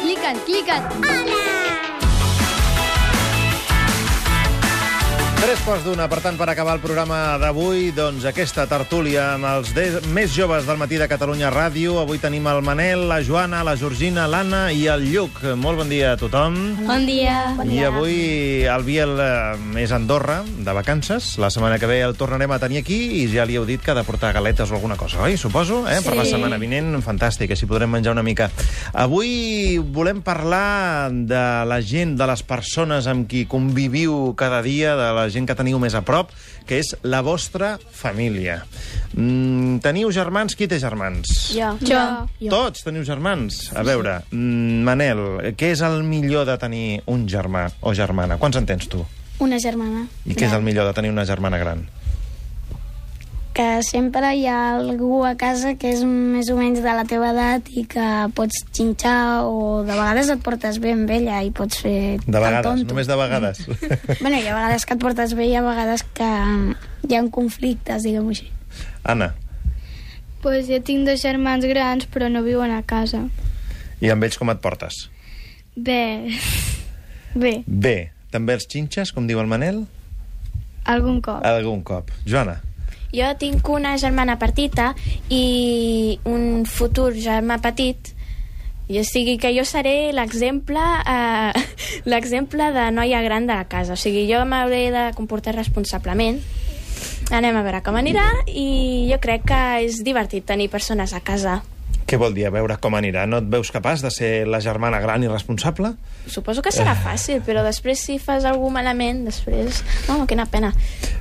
Kikat, kikat. Tres quarts d'una, per tant, per acabar el programa d'avui, doncs aquesta tertúlia amb els de... més joves del matí de Catalunya Ràdio. Avui tenim el Manel, la Joana, la Georgina, l'Anna i el Lluc. Molt bon dia a tothom. Bon dia. I avui el Biel eh, és a Andorra, de vacances. La setmana que ve el tornarem a tenir aquí i ja li heu dit que ha de portar galetes o alguna cosa, oi? Suposo, eh? Per la Sí. setmana vinent, fantàstic, així podrem menjar una mica. Avui volem parlar de la gent, de les persones amb qui conviviu cada dia, de la gent que teniu més a prop, que és la vostra família. Mm, teniu germans? Qui té germans? Jo. Jo. Tots teniu germans. A veure, mm, Manel, què és el millor de tenir un germà o germana? Quants en tens tu? Una germana. I què és el millor de tenir una germana gran? Que sempre hi ha algú a casa que és més o menys de la teva edat i que pots xinxar o de vegades et portes bé amb ella i pots fer De el vegades, tonto. només de vegades. Bueno, hi ha vegades que et portes bé i hi ha vegades que hi ha conflictes, diguem-ho així. Anna, Pues jo tinc dos germans grans, però no viuen a casa. i amb ells com et portes? Bé, bé, Bé, també els xinxes, com diu el Manel? algun cop. Algun cop. Joana, Jo tinc una germana petita i un futur germà petit, i o sigui que jo seré l'exemple eh, l'exemple de noia gran de la casa. O sigui, jo m'hauré de comportar responsablement. Anem a veure com anirà i jo crec que és divertit tenir persones a casa. què vol dir? A veure com anirà. No et veus capaç de ser la germana gran i responsable? Suposo que serà fàcil, però després si fas algú malament, després... No, quina pena.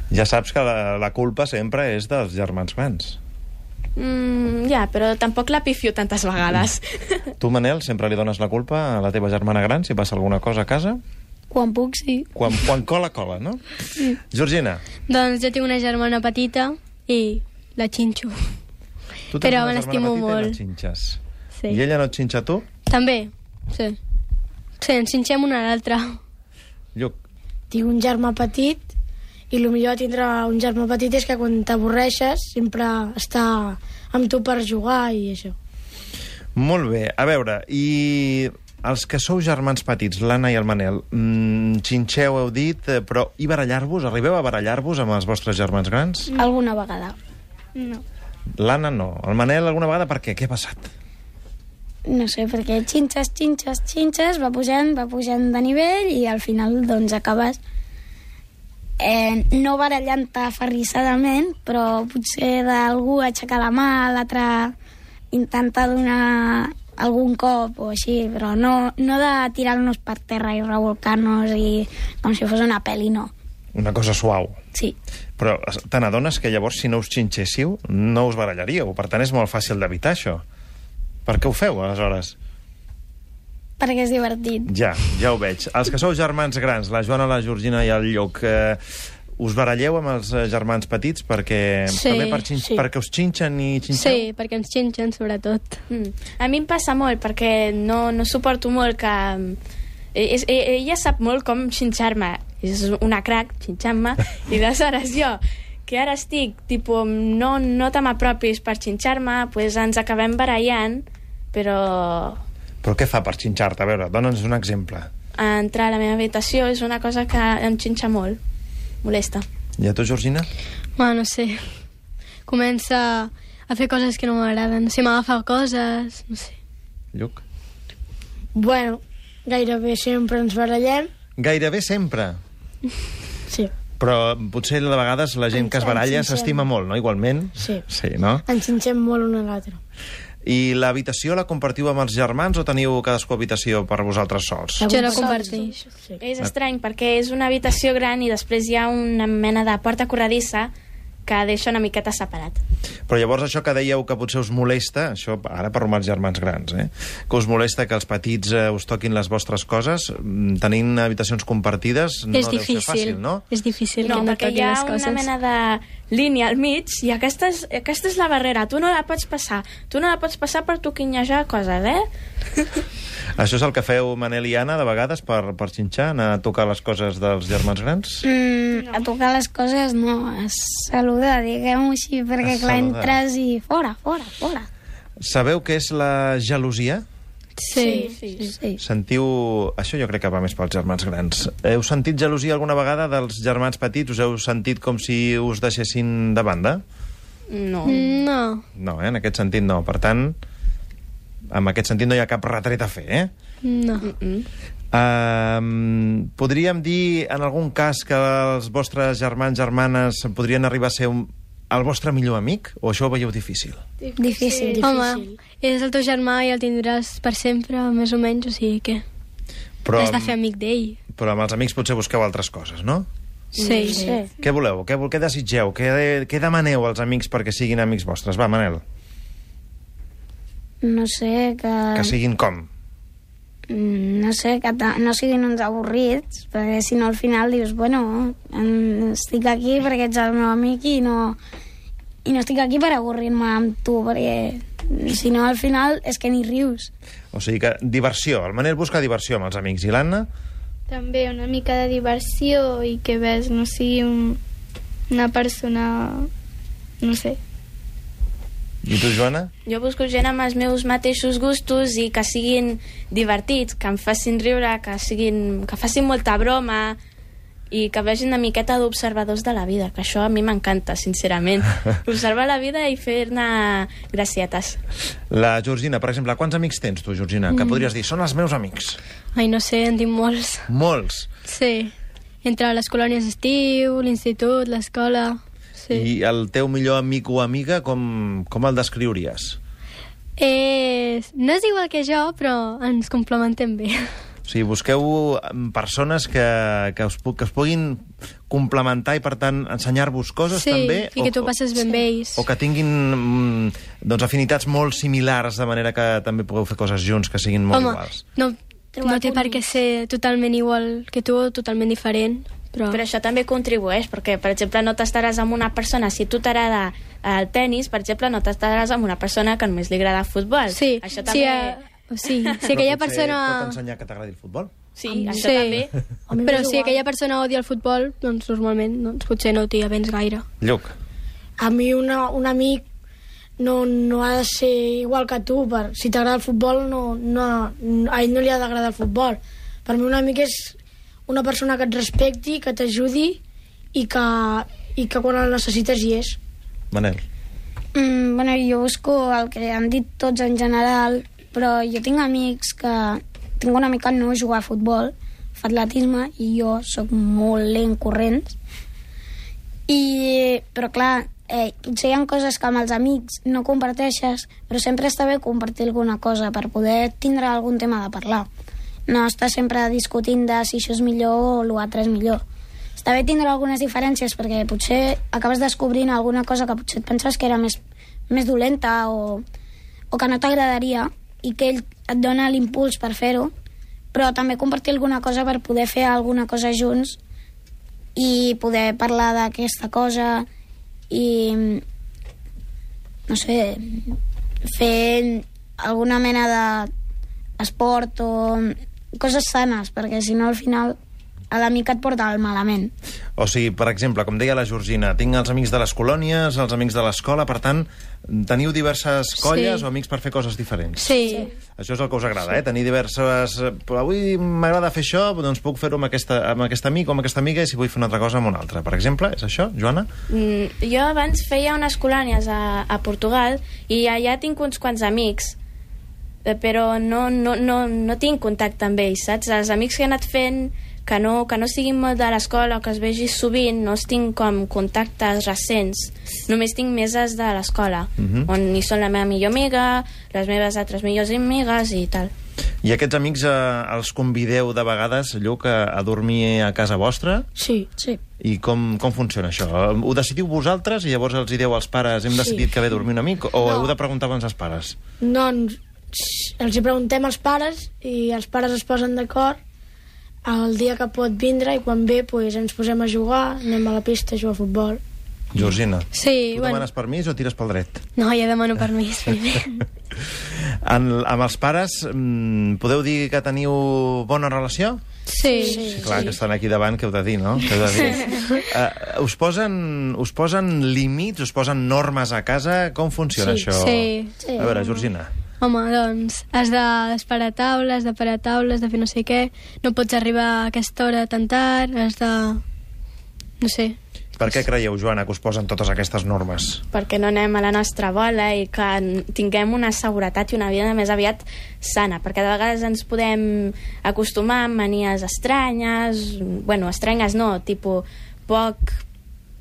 Ja saps que la, la culpa sempre és dels germans grans. Mm, ja, però tampoc la pifio tantes vegades. Tu, Manel, sempre li dones la culpa a la teva germana gran si passa alguna cosa a casa? Quan puc, sí. Quan, quan cola, cola, no? Georgina, Doncs jo tinc una germana petita i la xinxo. tu tens Però una germana me l'estimo petita i molt. la xinxes. Sí. I ella no et xinxa a tu? També, sí. Sí, ens xinxem una a l'altra. Lluc, Tinc un germà petit i el millor de tindre un germà petit és que quan t'avorreixes sempre està amb tu per jugar i això. molt bé. A veure, i els que sou germans petits, l'Anna i el Manel, mm, xinxeu, heu dit, eh, però i barallar-vos? Arribeu a barallar-vos amb els vostres germans grans? Alguna vegada. No. L'Anna no. El Manel alguna vegada per què? Què ha passat? No sé, perquè xinxes, xinxes, xinxes, va pujant, va pujant de nivell i al final doncs acabes eh, no barallant-te aferrissadament, però potser d'algú aixecar la mà, l'altre intentar donar algun cop o així, però no, no de tirar-nos per terra i revolcar-nos i com si fos una pel·li, no. Una cosa suau. Sí. Però es- te n'adones que llavors, si no us xinxéssiu, no us barallaríeu. Per tant, és molt fàcil d'evitar això. Per què ho feu, aleshores? Perquè és divertit. Ja, ja ho veig. Els que sou germans grans, la Joana, la Georgina i el Lluc, eh, us baralleu amb els eh, germans petits perquè, Sí, també per xin... sí. perquè us xinxen i xinxeu? Sí, perquè ens xinxen, sobretot. Mm. A mi em passa molt, perquè no, no suporto molt que... eh, És, eh, ella sap molt com xinxar-me. És una crac, xinxant-me. I aleshores jo, que ara estic, tipus, no, no te m'apropis per xinxar-me, pues ens acabem barallant, però Però què fa per xinxar-te? A veure, dona'ns un exemple. entrar a la meva habitació és una cosa que em xinxa molt. Molesta. I a tu, Georgina? Bueno, no sé. Comença a fer coses que no m'agraden. No sé, m'agafa coses, no sé. Lluc? Bueno, gairebé sempre ens barallem. Gairebé sempre. Sí, Però potser de vegades la gent que es baralla xinxem. s'estima molt, no? Igualment. Sí. Sí, no? ens xinxem molt un a l'altre. I l'habitació la compartiu amb els germans o teniu cadascú habitació per vosaltres sols? Jo la Alguns sols. comparteix. Sí. És estrany perquè és una habitació gran i després hi ha una mena de porta corredissa que deixa una miqueta separat. Però llavors això que dèieu que potser us molesta, això ara per romans germans grans, eh? que us molesta que els petits eh, us toquin les vostres coses, mm, tenint habitacions compartides, no és deu difícil. ser fàcil, no? És difícil no, que no perquè toquin hi ha les una coses. mena de línia al mig i aquesta és, aquesta és la barrera. Tu no la pots passar. Tu no la pots passar per toquinyejar coses, eh? Això és el que feu Manel i Anna de vegades per, per xinxar, anar a tocar les coses dels germans grans? Mm, a tocar les coses no, a saludar, diguem-ho així, perquè A clar, saludar. entres i fora, fora, fora. Sabeu què és la gelosia? Sí. sí. Sí. Sentiu... Això jo crec que va més pels germans grans. Heu sentit gelosia alguna vegada dels germans petits? Us heu sentit com si us deixessin de banda? No. No, No, eh? en aquest sentit no. Per tant, en aquest sentit no hi ha cap retret a fer, eh? no. Um, podríem dir en algun cas que els vostres germans, germanes podrien arribar a ser un, el vostre millor amic? O això ho veieu difícil? Difícil. Sí. Home, és el teu germà i el tindràs per sempre, més o menys, o sigui que... Però, T'has de fer amic d'ell. però amb els amics potser busqueu altres coses, no? Sí. Sí. Què voleu? Què, vol- què desitgeu? Què, què demaneu als amics perquè siguin amics vostres? Va, Manel, No sé, que... Ah. que siguin com? Mm, No sé, que ta- no siguin uns avorrits, perquè si no al final dius, bueno, em- estic aquí perquè ets el meu amic i no, i no estic aquí per avorrir-me amb tu, perquè si no al final és que ni rius. O sigui que diversió. El Manel busca diversió amb els amics. I l'Anna? També una mica de diversió i que ves, no sigui un, una persona... No sé. I tu, Joana? Jo busco gent amb els meus mateixos gustos i que siguin divertits, que em facin riure, que, siguin, que facin molta broma i que vegin una miqueta d'observadors de la vida, que això a mi m'encanta, sincerament. Observar la vida i fer-ne gracietes. La Georgina, per exemple, quants amics tens tu, Georgina? Mm. Que podries dir, són els meus amics. Ai, no sé, en tinc molts. Molts. Sí. Entre les colònies d'estiu, l'institut, l'escola... Sí. I... I el teu millor amic o amiga, com, com el descriuries? És... No és igual que jo, però ens complementem bé. O sigui, busqueu mm, persones que, que, us, pu- que us puguin complementar i, per tant, ensenyar-vos coses sí, també. i que tu passes ben sí. bé ells. O que tinguin mm, doncs, afinitats molt similars, de manera que també pugueu fer coses junts que siguin molt Home, iguals. no, Trobar no té per què ser totalment igual que tu o totalment diferent, però... Però això també contribueix, perquè, per exemple, no t'estaràs amb una persona... Si tu t'agrada el tennis, per exemple, no t'estaràs amb una persona que només li agrada el futbol. Sí, això sí, també... eh, sí, si Però aquella potser Pot persona... ensenyar que t'agradi el futbol? Sí, Home, això sí. també... A mi m'és Però si igual. aquella persona odia el futbol, doncs normalment doncs, potser no t'hi avens gaire. Lluc. A mi una, un amic no, no ha de ser igual que tu. Per, si t'agrada el futbol, no, no, no, a ell no li ha d'agradar el futbol. Per mi un amic és una persona que et respecti, que t'ajudi i que, i que quan el necessites hi és. Manel. Mm, bueno, jo busco el que han dit tots en general, però jo tinc amics que... Tinc un amic que no juga a futbol, fa atletisme, i jo sóc molt lent corrents. I, però clar, eh, potser hi ha coses que amb els amics no comparteixes, però sempre està bé compartir alguna cosa per poder tindre algun tema de parlar. No estar sempre discutint de si això és millor o l'altre és millor. Està bé tindre algunes diferències perquè potser acabes descobrint alguna cosa que potser et penses que era més, més dolenta o, o que no t'agradaria i que ell et dona l'impuls per fer-ho, però també compartir alguna cosa per poder fer alguna cosa junts i poder parlar d'aquesta cosa i no sé fer alguna mena d'esport o coses sanes perquè si no al final a l'amic et porta al malament O sigui, per exemple, com deia la Georgina, tinc els amics de les colònies, els amics de l'escola, per tant, teniu diverses colles Sí. o amics per fer coses diferents. Sí, Això és el que us agrada, sí. eh? Tenir diverses... eh, però Avui m'agrada fer això, doncs puc fer-ho amb, aquesta, amb aquest amic o amb aquesta amiga i si vull fer una altra cosa amb una altra. Per exemple, és això, Joana? Mm, jo abans feia unes colònies a, a Portugal i allà tinc uns quants amics eh, però no, no, no, no tinc contacte amb ells, saps? Els amics que he anat fent que no, que no siguin molt de l'escola o que es vegi sovint, no els tinc com contactes recents, només tinc meses de l'escola, Mhm. on hi són la meva millor amiga, les meves altres millors amigues i tal. I aquests amics eh, els convideu de vegades, Lluc, a, a dormir a casa vostra? Sí. sí. I com, com funciona això? Ho decidiu vosaltres i llavors els hi dieu als pares hem Sí. decidit que ve a dormir un amic o No. heu de preguntar abans als pares? No, ens, Doncs, els hi preguntem als pares i els pares es posen d'acord el dia que pot vindre i quan ve pues, ens posem a jugar, anem a la pista a jugar a futbol. Georgina, sí, tu bueno. demanes permís o tires pel dret? No, ja demano permís primer. En, amb els pares mm, podeu dir que teniu bona relació? Sí. Sí, clar, que estan aquí davant, que heu de dir, no? Que heu de dir. Uh, us, posen, us posen límits, us posen normes a casa? Com funciona Sí. això? Sí. Sí. A veure, Georgina. Home, doncs, has d'esperar taula, has de parar taula, has de fer no sé què, no pots arribar a aquesta hora tan tard, has de... no sé. Per què creieu, Joana, que us posen totes aquestes normes? perquè no anem a la nostra bola i que n- tinguem una seguretat i una vida més aviat sana, perquè de vegades ens podem acostumar a manies estranyes, bueno, estranyes no, tipus poc,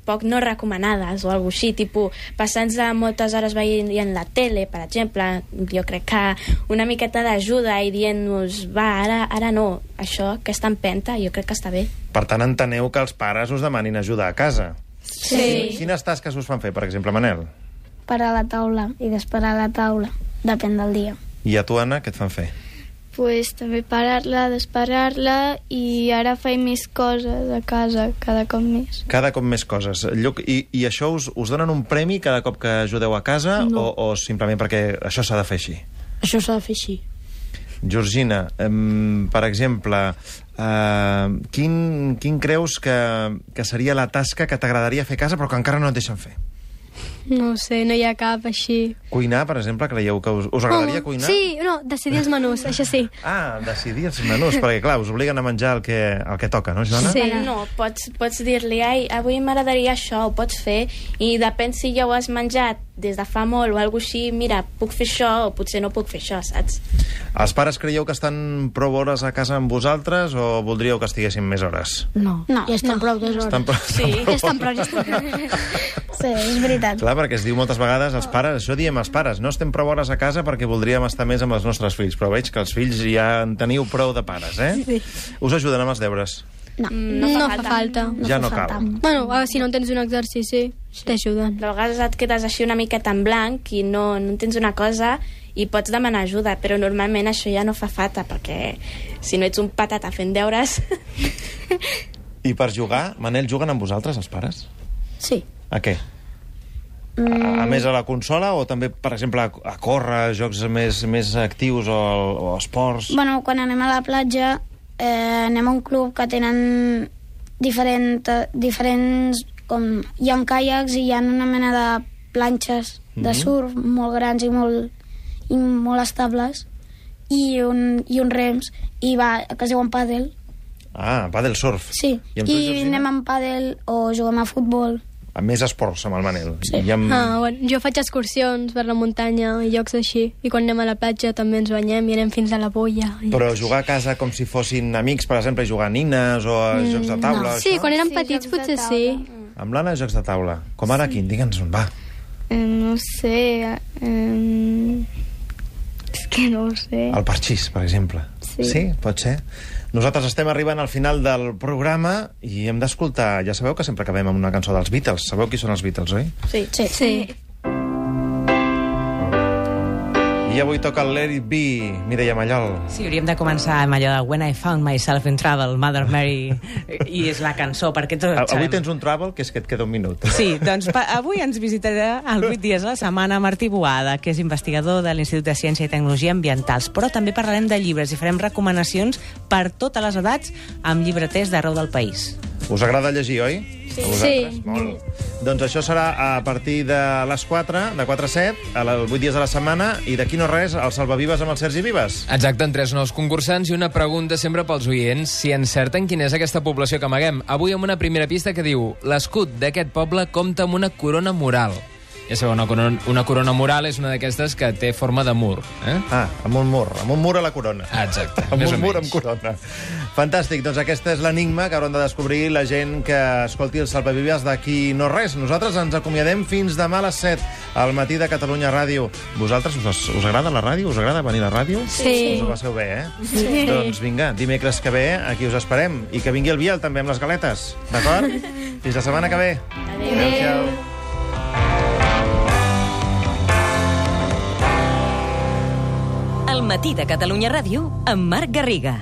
poc no recomanades o alguna així, tipus passar-nos de moltes hores veient la tele, per exemple, jo crec que una miqueta d'ajuda i dient-nos, va, ara, ara no, això, aquesta empenta, jo crec que està bé. Per tant, enteneu que els pares us demanin ajuda a casa. Sí. Quines tasques us fan fer, per exemple, Manel? Parar la taula i desparar la taula. Depèn del dia. I a tu, Anna, què et fan fer? pues, també parar-la, desparar-la i ara faig més coses a casa cada cop més. Cada cop més coses. Lluc, i, I això us, us donen un premi cada cop que ajudeu a casa no. o, o simplement perquè això s'ha de fer així? Això s'ha de fer així. Georgina, um, per exemple, uh, quin, quin creus que, que seria la tasca que t'agradaria fer a casa però que encara no et deixen fer? No ho sé, no hi ha cap així. Cuinar, per exemple, creieu que us, us agradaria cuinar? Sí, no, decidir els menús, això sí. Ah, decidir els menús, perquè clar, us obliguen a menjar el que, el que toca, no, Joana? Sí. Bueno, no, pots, pots dir-li, ai, avui m'agradaria això, ho pots fer, i depèn si ja ho has menjat des de fa molt o alguna així, mira, puc fer això o potser no puc fer això, saps? Els pares creieu que estan prou hores a casa amb vosaltres o voldríeu que estiguessin més hores? No. No, Ja estan no. prou dues hores. Estan prou, sí. Ja estan prou, ja estan prou. Sí, és veritat. Clar, perquè es diu moltes vegades als pares, això diem als pares, no estem prou hores a casa perquè voldríem estar més amb els nostres fills, però veig que els fills ja en teniu prou de pares, eh? Sí. Us ajuden amb els deures. No. Mm, No fa falta. ja fa no falta. cal. Bueno, ah, si no tens un exercici, t'ajuden. De vegades et quedes així una miqueta en blanc i no, no tens una cosa i pots demanar ajuda, però normalment això ja no fa falta, perquè si no ets un patata fent deures... I per jugar, Manel, juguen amb vosaltres, els pares? Sí. A què? A, a més a la consola o també, per exemple, a, a córrer, a jocs més, més actius o, o esports? Bueno, quan anem a la platja eh, anem a un club que tenen diferent, diferents... Com, hi ha caiacs i hi ha una mena de planxes de surf molt grans i molt, i molt estables i, un, i uns rems i va, que es diuen pàdel Ah, va del surf. sí. I, i, amb tu, Georgina? anem amb pàdel o juguem a futbol A més esports, amb el Manel. Sí. I amb... Ah, bueno, jo faig excursions per la muntanya i llocs així. I quan anem a la platja també ens banyem i anem fins a la boia. I... Però jugar a casa com si fossin amics, per exemple, i jugar a nines o a mm, jocs de taula... Sí, això? quan érem Sí, petits jocs de potser taula. sí. Amb l'Anna, jocs de taula. Com ara, sí. quin? Digue'ns on va. Eh, no sé... Eh, és que no ho sé. El parxís, per exemple. Sí. sí, pot ser. Nosaltres estem arribant al final del programa i hem d'escoltar... Ja sabeu que sempre acabem amb una cançó dels Beatles. Sabeu qui són els Beatles, oi? Sí. sí. Sí. I avui toca el Let It Be, Mireia Mallol. Sí, hauríem de començar amb allò de When I found myself in trouble, Mother Mary, i és la cançó, perquè tots A- Avui sabem- tens un trouble, que és que et queda un minut. Sí, doncs pa- avui ens visitarà el 8 dies a la setmana Martí Boada, que és investigador de l'Institut de Ciència i Tecnologia Ambientals, però també parlarem de llibres i farem recomanacions per totes les edats amb llibreters d'arreu del país. Us agrada llegir, oi? Sí. Sí. Molt. Doncs això serà a partir de les 4, de 4 a 7, a les 8 dies de la setmana, i d'aquí no res, el Salvavives amb el Sergi Vives. Exacte, amb tres nous concursants i una pregunta sempre pels oients. Si encerten quina és aquesta població que amaguem. Avui amb una primera pista que diu l'escut d'aquest poble compta amb una corona mural. Ja sabeu, una corona, una corona mural és una d'aquestes que té forma de mur. Eh? Ah, amb un mur, amb un mur a la corona. Ah, exacte, Amb més un o mur menys. amb corona. Fantàstic, doncs aquesta és l'enigma que hauran de descobrir la gent que escolti el Salvavives d'aquí no res. Nosaltres ens acomiadem fins demà a les 7 al matí de Catalunya Ràdio. Vosaltres us, us agrada la ràdio? Us agrada venir a la ràdio? Sí. Us ho passeu bé, eh? Sí. Doncs vinga, dimecres que ve aquí us esperem. I que vingui el Biel també amb les galetes, d'acord? Fins la setmana que ve. Adéu. Adéu. El matí de Catalunya Ràdio amb Marc Garriga.